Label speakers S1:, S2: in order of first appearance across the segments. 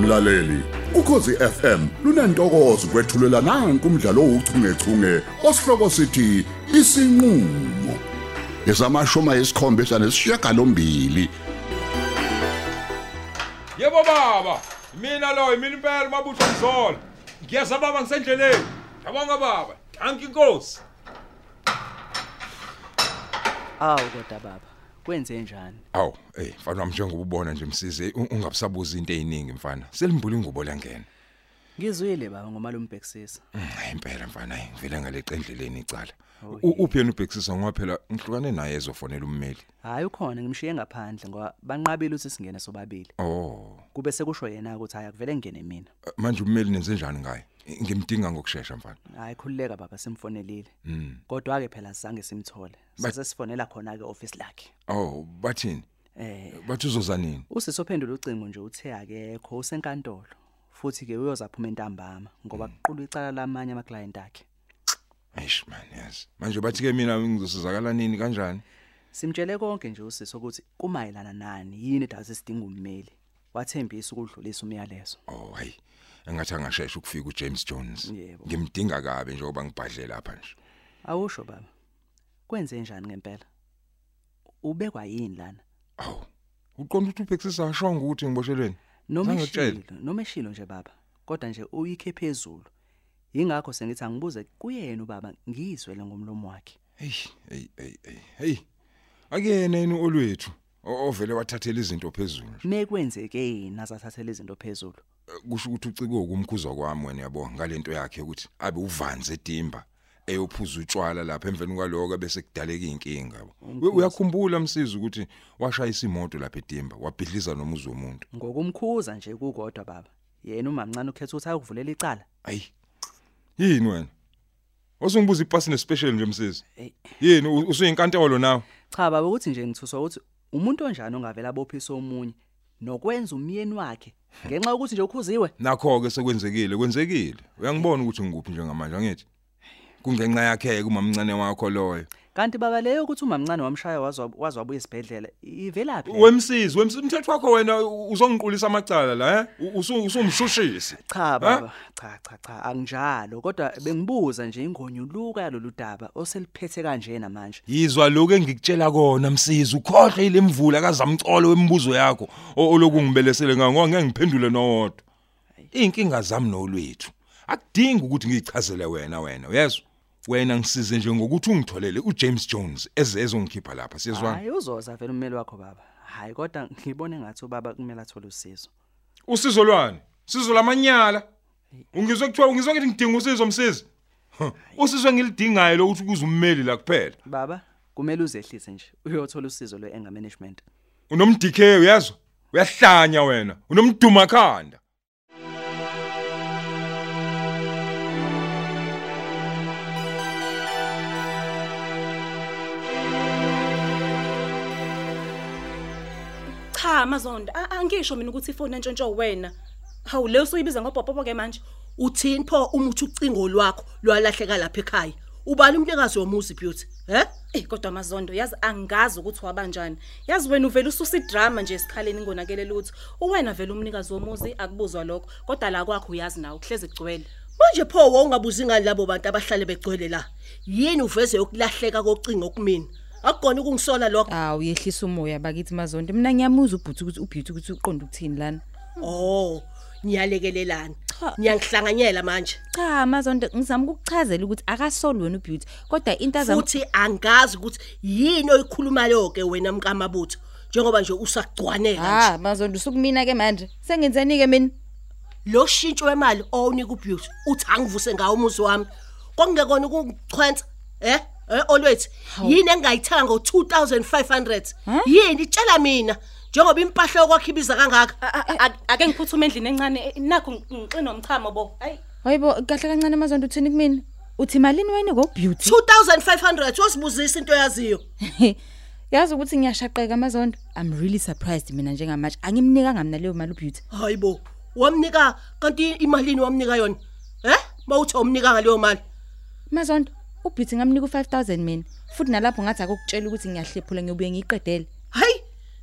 S1: mlaleli ukhosi FM lunantokozo kwethulela nange kumdlalo ouchungechunge osihloko sithi isinqulo ngesamashoma esikhombisa nesishiyagalombili
S2: Yebo baba, mina lo imini impela mabutho mzolo. Ngiyeza baba ngisendleleni. Yabonga baba. Thank you Nkosi.
S3: Awu kodwa baba, kwenze njani?
S2: Aw, hey, mfana wami njengoba ubona nje msisi u- ungabusabuza into eziningi mfana. Selimbula ingubo la ngena.
S3: Ngizwile baba ngomalume ubhekisisa.
S2: Hayi impela mfana, hayi ngivela ngalecwa endleleni icala. U- Uphi yena ubhekisisa ngoba phela ngihlukane naye ezofonela ummeli.
S3: Hayi ukhona ngimshiye ngaphandle ngoba banqabile ukuthi singene sobabili.
S2: Oh,
S3: Kube sekusho yena ukuthi hayi akuvele ngene mina.
S2: manje ummeli nenzenjani ngaye? Ngimdinga ngokusheshsha mfana.
S3: Hayi khulileka baba simfonelile. Kodwa ke phela sange simthole. Sasesifonela khona ke office lakhe.
S2: Oh, bathini?
S3: Eh,
S2: Bathi uzoza nini?
S3: usise ophendula ucingo nje uthe akekho usenkantolo. Futhi ke uyozaphuma entambama ngoba kuqulwa icala lamanye ama client akhe.
S2: Eish man, yes. Manje bathi ke mina ngizosizakala nini kanjani?
S3: Simtshele konke nje usise ukuthi kumayelana nani yini edase sidinga ummeli. Wathembisa ukudlulisa umyalezo.
S2: Oh hayi. Engathi angasheshe ukufika uJames Jones.
S3: Yebo.
S2: Ngimdinga kabe njengoba ngibhadle lapha nje.
S3: Awusho baba. Kwenze njani ngempela? Ubekwa yini lana?
S2: Aw. Uqonda ukuthi ubhekisisa asho ukuthi ngiboshelweni.
S3: Noma
S2: Zange
S3: eshilo,
S2: ngikutshele.
S3: noma eshilo nje baba. Kodwa nje uyikhe phezulu. Yingakho sengithi angibuze kuyena ubaba ngizwele ngomlomo wakhe.
S2: Hey, hey, hey, hey. Hey. Akuyena yini olwethu o- ovele wathathela izinto phezulu nje.
S3: Mekwenzeke yini azathathela izinto phezulu?
S2: Kusho ukuthi ucike ukumkhuzwa kwami wena yabo ngalento yakhe ukuthi abe uvanze edimba eyophuza utshwala lapha emveni kwaloko bese kudaleka inkinga yabo. We- Uyakhumbula umsizi ukuthi washayisa imoto lapha edimba wabhidliza nomuzi womuntu.
S3: Ngokumkhuza nje kukodwa baba. Yena umamncane ukhetha ukuthi ayokuvulela icala.
S2: Ayi. Yini wena? Wasungibuza ipasi nespecial nje msisi.
S3: Ey.
S2: Yini u- usuyinkantolo nawe?
S3: Cha baba ukuthi nje ngithuswa ukuthi umuntu onjani ongavela bophisa omunye nokwenza umyeni wakhe ngenxa yokuthi nje ukhuziwe.
S2: Nakho ke sekwenzekile, kwenzekile. Uyangibona ukuthi ngikuphi njengamanje angithi? Kungenxa yakhe ke umamncane wakho loyo.
S3: Kanti baba leyo ukuthi umamncane wamshaya wazwa wazwabuya esibhedlela ivelaphi? leyo?
S2: Wemsizwe, wemsizwe umthetho wakho wena u- uzongiqulisa amacala la, eh? U- usu- Usumshushisi.
S3: Cha baba, cha cha cha anginjalo kodwa bengibuza nje ingonyuluka yalolu daba oseliphethe kanje namanje.
S2: Yizwa lokho engikutshela kona msizwe, ukhohle ile mvula kazamcolo wembuzo yakho o- olokungibelesele ngawo ngoba ngeke ngiphendule nowodwa. Inkinga zami nolwethu. Akudingi ukuthi ngichazele wena wena, uyezwa? Wena ngisize nje ngokuthi ungitholele uJames Jones ezezongikhipha lapha, siyezwana?
S3: Hayi uzoza vele ummeli wakho baba. Hayi kodwa ngibone ngathi ubaba kumele athole usizo.
S2: Usizo lwani? Sizo lamanyala. Ungizwe kuthiwa ungizwe ukuthi ngidinga usizo msizwe. Huh, Usizo engilidingayo lokuthi ukuze ummeli la kuphela.
S3: Baba, kumele uzehlise nje uyothola usizo lweanger management.
S2: Unomdikhe uyezwa? Uyahlanya wena. Unomduma khanda.
S4: cha mazondo a- angisho mina ukuthi ifoni entshontsho wena hawu leyo suyibiza ngobhobhobo ke manje
S5: uthini pho uma uthi ucingo lwakho lwalahleka lapha ekhaya ubani umnikazi womuzi beauty he
S4: Eh kodwa mazondo yazi angazi ukuthi wabanjani yazi wena uvela ususa idrama nje esikhaleni ngonakele lutho uwena vele umnikazi womuzi akubuzwa lokho kodwa la kwakho uyazi nawe kuhleze kugcwele
S5: manje pho wawungabuzi ngani labo bantu abahlale begcwele la yini uveze yokulahleka kocingo kumina akukona ukungisola lokho
S6: Aw yehlisa umoya bakithi mazondo mina ngiyamuza ubhuti ukuthi ubhuti ukuthi uqonda ukuthini lana
S5: oh niyalekelelana
S6: Cha.
S5: niyangihlanganyela manje
S6: cha mazondo ngizama ukukuchazela ukuthi akasolwe wena ubhuti kodwa into azama
S5: futhi angazi ukuthi yini oyikhuluma lonke wena mkamabutho njengoba nje usagcwanela nje
S6: ha mazondo sukumina ke manje sengenzeni ke mina
S5: lo shintsho wemali owunika ubeauty uthi angivuse ngawo umuzi wami kwakungekona ukungichwenza eh eh olwethu yini engayithanga ngo2500 yini tshela mina njengoba impahla yokwakhe ibiza kangaka
S4: A- a- a- ake ngiphuthume endlini encane eh, nakho ngixinwa umchamo bo hayi
S6: hayibo kahle kancane mazondo uthini kumina uthi malini wena ngobhuti
S5: 2500 wasibuzisa into yaziyo
S6: yazi ukuthi ngiyashaqeka mazondo i'm really surprised mina njengamanje angimnikanga mina leyo mali ubhuti
S5: hayibo wamnika kanti imalini wamnika yona eh bawuthi umnika ngaleyo mali
S6: mazondo ubhuti ngamnika u5000 mina futhi nalapho ngathi akukutshela ukuthi ngiyahlephula ngiyobuye ngiyiqedele
S5: hayi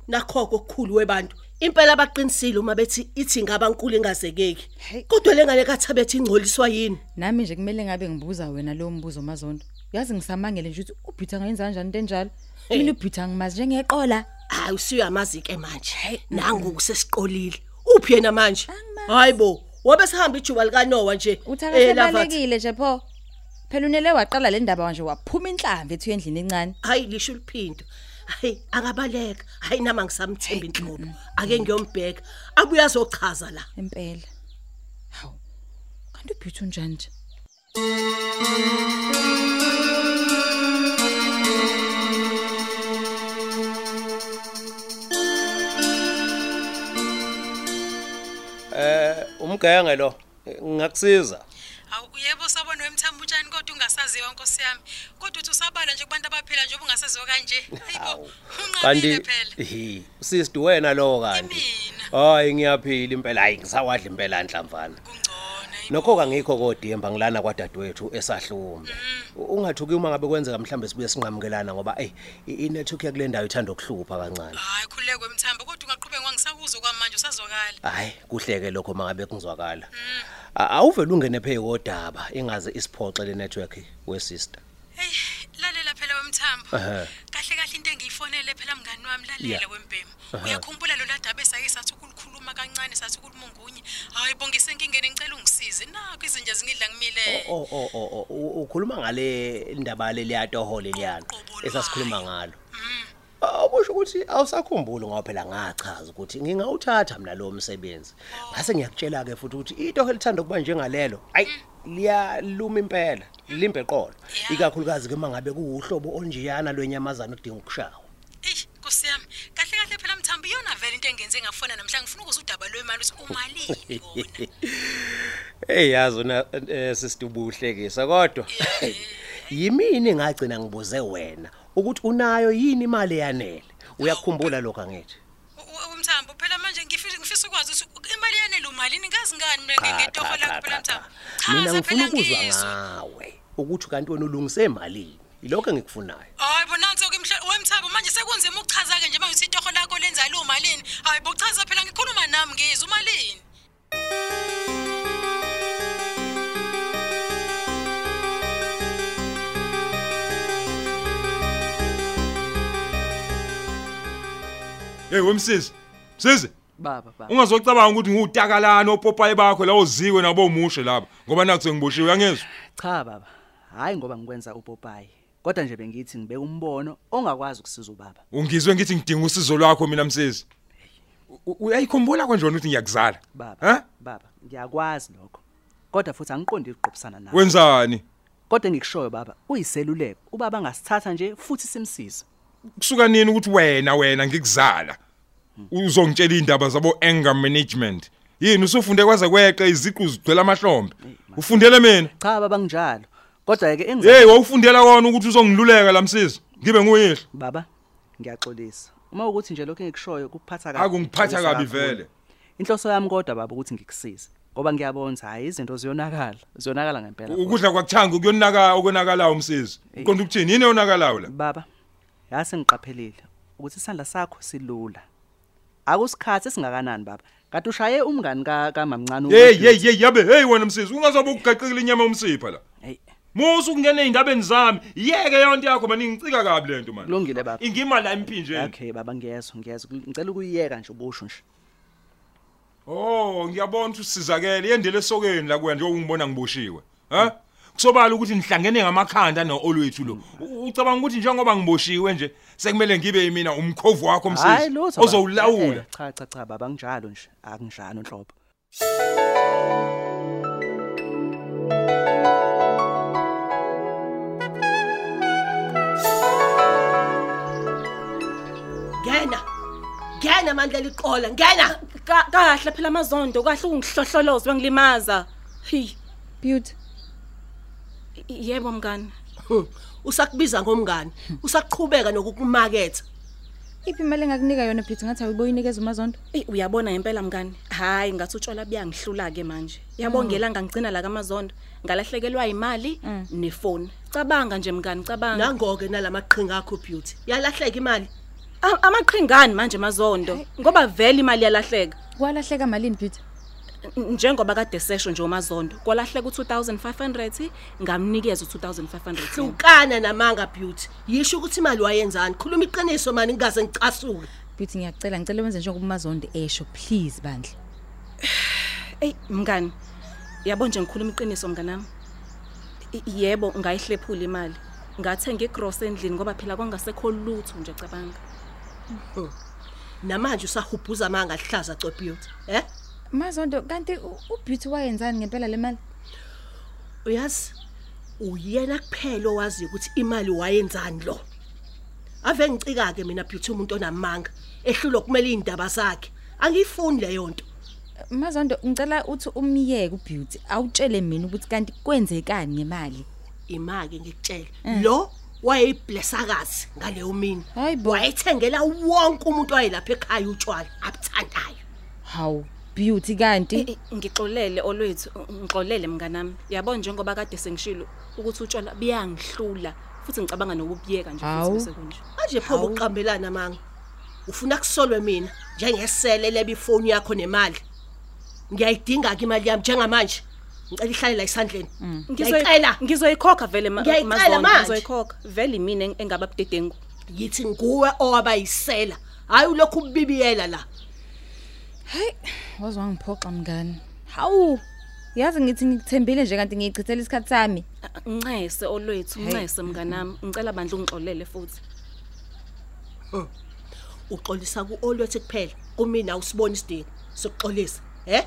S5: nakho kokukhulu webantu impela baqinisile uma bethi ithi ngaba nkulu ingazekeki kodwa lengane kathabethi ingcoliswa yini
S6: Nami nje kumele ngabe ngibuza wena lo mbuzo mazondo. Yazi ngisamangele nje ukuthi uBhitha ngenza kanjani into enjalo. Mina uBhitha ngimazi njengeqola.
S5: hayi usuyamazi ke manje nangu kusesiqolile uphi yena manje hayibo wabe sihamba ijuba likanowa nje
S6: Uthi
S5: eh, Lavathi.
S6: akasebalekile nje pho. Phela unele waqala le ndaba manje waphuma inhlamvu ethu endlini encane.
S5: hayi lisho uliphindo hayi akabaleka hayi nama ngisamthemba inhlobo ake ngiyombheka abuya azochaza la
S6: Impela. Hawu. Kanti uBhitha unjani nje?
S7: umgenge lo ngakusiza
S8: Awu yebo sabona wemthambo utshani kodwa ungasaziwa Nkosi yami. Kodwa uthi usabala nje kubantu abaphila nje obungasaziwa kanje. Hayibo. Unqabile
S7: kanti
S8: phela.
S7: hi usisi wena lo kanti
S8: Mina
S7: hayi ngiyaphila impela hayi ngisawadla impela nhlamvana
S8: kungcono.
S7: nokho kangikho kodemba ngilana kwadadewethu esahluma
S8: Mm-hmm.
S7: ungathuki uma ngabe kwenzeka mhlambe sibuye sinqamukelana ngoba ey i- i-network yakule ndawo ithanda okuhlupha kancane
S8: Hayi khuleke wemthambo kodwa ungaqhubeka ngisakuzwa kwamanje usazwakala.
S7: hayi kuhleke lokho mangabe kungizwakala
S8: Mm.
S7: A- awuvele ungene phe kodaba ingaze isiphoxe le network wesister
S8: Hey lalela phela wemthambo.
S7: Ehhe.
S8: Kahle kahle into engiyifonele phela mngani wami lalela
S7: Yeah.
S8: wembhemu. Uyakhumbula lo ladaba esake sathi ukulukhuluma kancane sathi ukulumungunye. Hayi bongise nkingeni ngicela ungisize. Nakho izinja zingidla ngimile.
S7: o o o o- oh, u- ukhuluma ngale ndaba le liyatohole liyana
S8: Uqobo lwayo.
S7: esasikhuluma ngalo awusho ukuthi awusakhumbuli ngoba phela ngachaza ukuthi ngingawuthatha mina lo msebenzi ngase ngiyakutshela ke futhi ukuthi itohe lithanda ukuba njengalelo ayi liyaluma impela limbe eqolo ikakhulukazi ke mangabe kuwuhlobo onjeyana lwenyamazana odinga ukushawa
S8: Eish Nkosi yami. Kahle kahle phela mthambo iyona vele into engenze ngafona namhlanje ngifuna ukuze udaba lwemali ukuthi umalini kona.
S7: Hey yazi una sisidubuhlekisa kodwa yimini ngagcina ngibuze wena ukuthi unayo yini imali yanele uyakhumbula lokho angithi
S8: umthambo phela manje ngifisa ngifisa ukwazi ukuthi imali yanele umalini ngazi ngani mina nge- ngetoho lakho phela mthambo
S7: mina
S8: Chaza
S7: ngifuna
S8: phela
S7: ukuzwa
S8: ngizwe.
S7: ngawe ukuthi kanti wena ulungise imali ilokho engikufunayo
S8: hayi bonansi ke mhle wemthabo manje sekunzima ukuchaza ke nje manje ukuthi intorho lakho lenza lo malini hayi bochaza phela ngikhuluma nami ngizwe umalini
S2: hey wemsisi msisi
S3: baba baba
S2: ungazocabanga ukuthi ngiwutakalana opopayi bakho lawo ziwe nabomushe laba ngoba nakho sengiboshiwe angezwe
S3: cha baba hayi ngoba ngikwenza upopayi kodwa nje bengithi ngibeka umbono ongakwazi ukusiza ubaba
S2: ungizwe ngithi ngidinga usizo lwakho mina msisi U- u- uyayikhumbula konje wena ukuthi ngiyakuzala
S3: baba
S2: ha
S3: baba ngiyakwazi lokho kodwa futhi angiqondi ukuqophisana nawe
S2: wenzani
S3: kodwa engikushoyo baba uyiseluleko ubaba angasithatha nje futhi simsize
S2: kusuka nini ukuthi wena wena ngikuzala uzongitshela indaba zabo anger management yini usufunde kwaze kweqe iziqu zigcwele amahlombe ufundele mina
S3: cha baba nginjalo kodwa ke engiza
S2: hey wawufundela kona ukuthi uzongiluleka la msisi ngibe nguyihlo
S3: baba ngiyaxolisa uma ukuthi nje lokho engikushoyo kuphatha kabi
S2: akungiphatha
S3: ngixolisa
S2: kabi
S3: kakhulu.
S2: vele
S3: inhloso yami kodwa baba ukuthi ngikusize ngoba ngiyabonza hayi izinto ziyonakala ziyonakala ngempela futhi.
S2: ukudla kwakuthanga ukuyonaka okwenakalayo msisi uqonda ukuthini yini eyonakalayo la
S3: baba yase ngiqaphelile ukuthi isandla sakho silula akusikhathi singakanani baba kanti ushaye umngani ka- kamamncane u-
S2: hey hey hey yabe hey wena msisi ungazobe ukugaqekile inyama yomsipha la
S3: Hey,
S2: musu kungena ezindabeni zami yeke yonke yakho manje ngicika kabi lento manje
S3: Kulungile, baba.
S2: ingima la emphinjeni
S3: okay baba ngiyezwa ngiyezwa ngicela ukuyiyeka nje ubusho nje
S2: Oh, ngiyabona ukuthi usizakele yendele esokeni la kuya nje ungibona ngiboshiwe. Ha? Kusobala ukuthi nihlangene ngamakhanda noolwethu lo. U- Ucabanga ukuthi njengoba ngiboshiwe nje sekumele ngibe mina umkhovu wakho umsisi
S3: hayi lutho baba. Eh,
S2: ozowulawula.
S3: eh, cha cha cha baba nginjalo nje akunjalo nhlobo
S5: ngena ngena amandla liqola ngena
S4: Ka- kahle phela amazondo kahle ungihlohloloze bengilimaza hi
S6: Beauty.
S4: yebo mngani
S5: Hmm, usakubiza ngomngani usaqhubeka nokukumaketha
S6: Iphi imali engakunika yona Beauty ngathi awuyiboyinikeza uMazondo?
S4: Eyi, uyabona ngempela mngani hayi ngathi utshola buyangihlula ke manje yabongelanga ngigcina la kamazondo ngalahlekelwa imali nefoni cabanga nje mngani cabanga
S5: nangoke nalamaqhinga akho beauty yalahleka imali
S4: A- Amaqhingani manje mazondo ngoba vele imali yalahleka.
S6: Kwalahleka malini Peter?
S4: N- Njengoba kade sesho nje umazondo, kwalahleka u2500 ngamnikeza u2500.
S5: hlukana namanga beauty yisho ukuthi imali wayenzani khuluma iqiniso mani ngingaze ngicasuke
S6: Beauty ngiyacela ngicela wenze njengoba uMazondi esho please bandla.
S4: Ey mngani. Yabo nje ngikhuluma iqiniso mnganami. I- Yebo ngayihlephula imali. Ngathenga igross endlini ngoba phela kwangasekho lutho nje cabanga.
S5: namanje usahubhuza amanga lihlaza co beauty eh
S6: Mazondo kanti u- uBeauty wayenzani ngempela le mali?
S5: uyazi uyena kuphela owaziyo ukuthi imali wayenzani lo ave ngicika-ke mina beauty umuntu onamanga ehlulwe kumele iy'ndaba zakhe angiyifuni leyo nto
S6: Mazondo ngicela uthi umyeke uBeauty awutshele mina ukuthi kanti kwenzekani ngemali.
S5: ima-ke ngikutshele lo wayeyiblesakazi ngaleyo mina
S6: Hayi bo.
S5: wayethengela wonke umuntu wayelapha ekhaya utshwala abuthandayo
S6: Haw Beauty kanti
S4: I- Eh, Ngixolele olwethu, ngixolele mnganami. Yabo njengoba kade sengishilo ukuthi utshwala biyangihlula futhi ngicabanga nokubiyeka nje
S6: Hawu.
S4: futhi bese kunje.
S5: manje pho uqambelana manga ufuna kusolwe mina njengesele lebe ifoni yakho nemali ngiyayidinga ke imali yami njengamanje ngicela ihlale la isandleni
S6: Mm.
S5: ngiyayicela
S4: Ngizoy- Ngizoyikhokha vele ma-
S5: Ngiyayicela
S4: Mazondo,
S5: manje.
S4: ngizoyikhokha. Vele mina eng- engaba budedengu.
S5: yithi nguwe owaba yisela hayi ulokhu ubibiyela la
S6: Hey, wazwa ngiphoxa mngani. Hawu. Yazi ngithi ngikuthembile nje kanti ngiyichithela isikhatsi sami.
S4: Ncese olwethu,
S6: Hey.
S4: ncese mnganami. Ngicela bandla ungixolele futhi.
S5: uxolisa ku-olwethi kuphela kumina usiboni isidingo sokuxolisa eh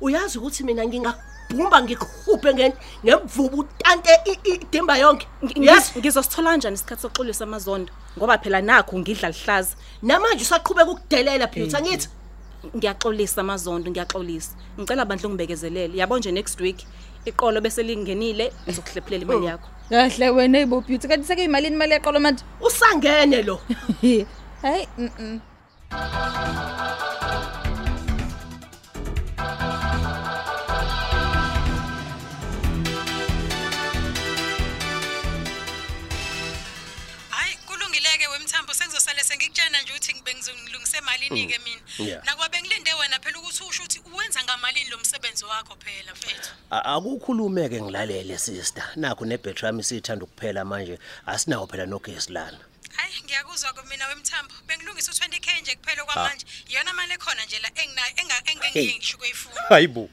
S5: uyazi ukuthi mina ngingabhumba ngikuhuphe nge- ngemvubu utante i- i- idimba yonke
S4: Ngi-
S5: yes
S4: ngiz- Ngizosithola kanjani isikhathi sokuxolisa amazondo ngoba phela nakho ngidla lihlaza.
S5: namanje usaqhubeka ukudelela beauty angithi
S4: Ngiyaxolisa amazondo, ngiyaxolisa. Ngicela bandla ungibekezelele. Yabo nje next week iqolo bese lingenile ngizokuhlephlela imali yakho.
S6: Kahle wena ebo Beauty kanti seke imalini imali yaqolo manje.
S5: usangene lo
S6: Hey, mhm.
S8: hayi kulungileke wemthambo sengizosale sengikutshena nje ukuthi bengizongilungise emalini-ke mina
S7: Mm, yeah.
S8: nakuba bengilinde wena phela ukuthi usho ukuthi uwenza ngamalini lo msebenzi wakho phela mfethu
S7: A- akukhulume-ke ngilalele sister nakho nebhetri yami siyithanda ukuphela manje asinawo phela nogesi lana
S8: hayi ngiyakuzwa ke mina wemthambo bengilungisa u-20 k nje kuphela okwamanje iyona mali ekhona nje la enginayo enga- engeke
S7: Hey.
S8: ngiye ngisho kuyifuna
S7: hayi bo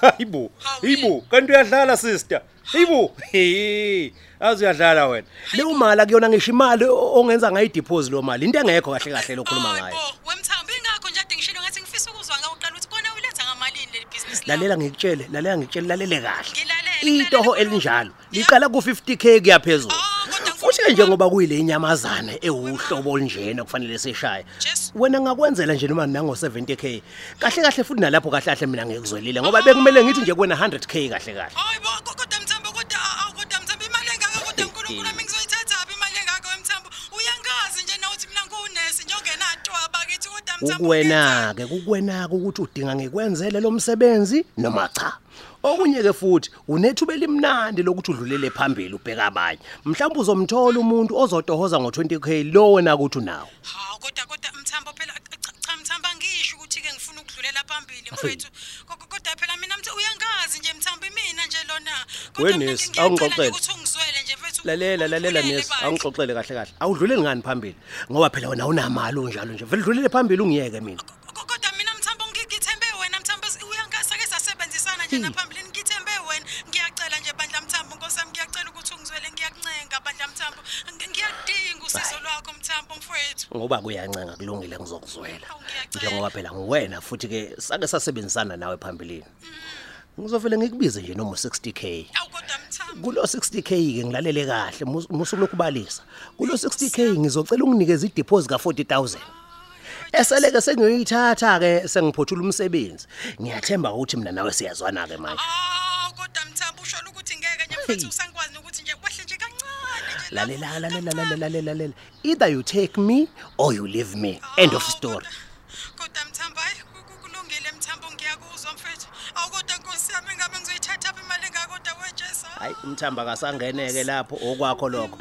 S7: hayi bo hayi bo kanti uyadlala sister hayi bo hey azi uyadlala wena leyo mali akuyona ngisho imali o- ongenza ngayo ideposit lo mali into engekho kahle kahle lokhuluma
S8: Hayi
S7: ngayo
S8: bo, wemthambo ingakho nje ade ngishilo ngathi ngifisa ukuzwa ngawuqala ukuthi kona uletha ngamalini leli bhizinisi lakho.
S7: lalela ngikutshele lalela ngikutshele lalele kahle
S8: Ngilalele, ngilalele
S7: itoho
S8: kakhulu.
S7: elinjalo
S8: Yeah.
S7: liqala ku-50k kuya phezulu
S8: Ah, kodwa
S7: futhi
S8: nkulunkulu-
S7: ke njengoba kuyile inyamazane ewuhlobo olunjena kufanele sishaye
S8: Jesu.
S7: wena ngakwenzela nje noma nango-70k kahle kahle futhi nalapho kahle kahle mina ngikuzwelile ngoba bekumele ngithi nje kuwena 100k kahle kahle
S8: hayi bo ko- kodwa mthambo kodwa awu kodwa mthambo imali engaka kodwa nkulunkulu wami ngizoyithathaphi imali engaka wemthambo uyangazi nje nauthi mina ngiwunesi nje ongenato abakithi kodwa mthambo ungenzani?
S7: kukwena-ke kukwena-ke ukuthi udinga ngikwenzele lo msebenzi noma cha okunye-ke futhi unethuba elimnandi lokuthi udlulele phambili ubheke abanye mhlawumbe uzomthola umuntu ozotohoza ngo-20 k lo wena kuthi unawo
S8: hawu kodwa kodwa mthambo phela cha- cha mthambo angisho ukuthi-ke ngifuna ukudlulela phambili mfowethu Ko- ko- kodwa phela mina mtha- uyangazi nje mthambo imina nje lona Kodwa mina
S7: Wenesi,
S8: ngiyacela nje
S7: awungixoxele.
S8: ukuthi ungizwele nje mfowethu,
S7: lalela lalela
S8: ungivulele
S7: nesi
S8: bandla.
S7: awungixoxele kahle kahle awudluleli ngani phambili ngoba phela wena unamali unjalo nje vele udlulele phambili ungiyeke mina
S8: Ko- ko- kodwa mina mthambo ngi- ngithembe wena mthambo s- uyangazi sake sasebenzisana
S7: Hmm.
S8: nje naphambilini ngithembe wena ngiyacela nje bandla mthambo nkosami ngiyacela ukuthi ungizwele ngiyakuncenga bandla mthambo Ngi- ngiyadinga usizo lwakho mthambo mfowethu
S7: ngoba kuyancenga kulungile ngizokuzwela
S8: Hawu, ngiyacela.
S7: njengoba phela nguwena futhi-ke sake sasebenzisana nawe phambilini ngizovele ngikubize nje noma u-60 k
S8: awu kodwa mthambo
S7: kulo 60k ke ngilalele kahle mus- musuku lokubalisa kulo 60k ngizocela unginikeza ideposit ka40000 eseleke sengiyoyithatha ke sengiphothula umsebenzi ngiyathemba ukuthi mina nawe siyazwana ke manje
S8: awu kodwa mthambo usho ukuthi ngeke nje mfowethu
S7: Hey.
S8: usangikwazi nokuthi nje wehle nje kancane nje la-
S7: lalela lalela lalela lalela lalela either you take me or you leave me end of
S8: Awu,
S7: story
S8: kodwa- kodwa mthambo hayi ku- ku- kulungile mthambo ngiyakuzwa mfethu awu kodwa nkosi yami ngabe ngizoyithatha phi imali engakodwa wejesa
S7: hayi umthamba kasangeneke lapho okwakho lokho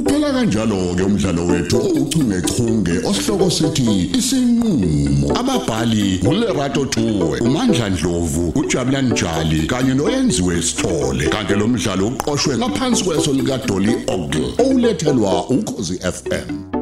S1: Uphela kanjalo ke umdlalo wethu ouchungechunge osihloko sithi isinqulo. Ababhali uLerato Tuwe, uMandla Dlovu, uJabulani Njali kanye noyenziwe Sithole. Kanti lo mdlalo uqoqwwe ngaphansi kweso lika Dolly Ogle. Olethelwa ukhosi FM.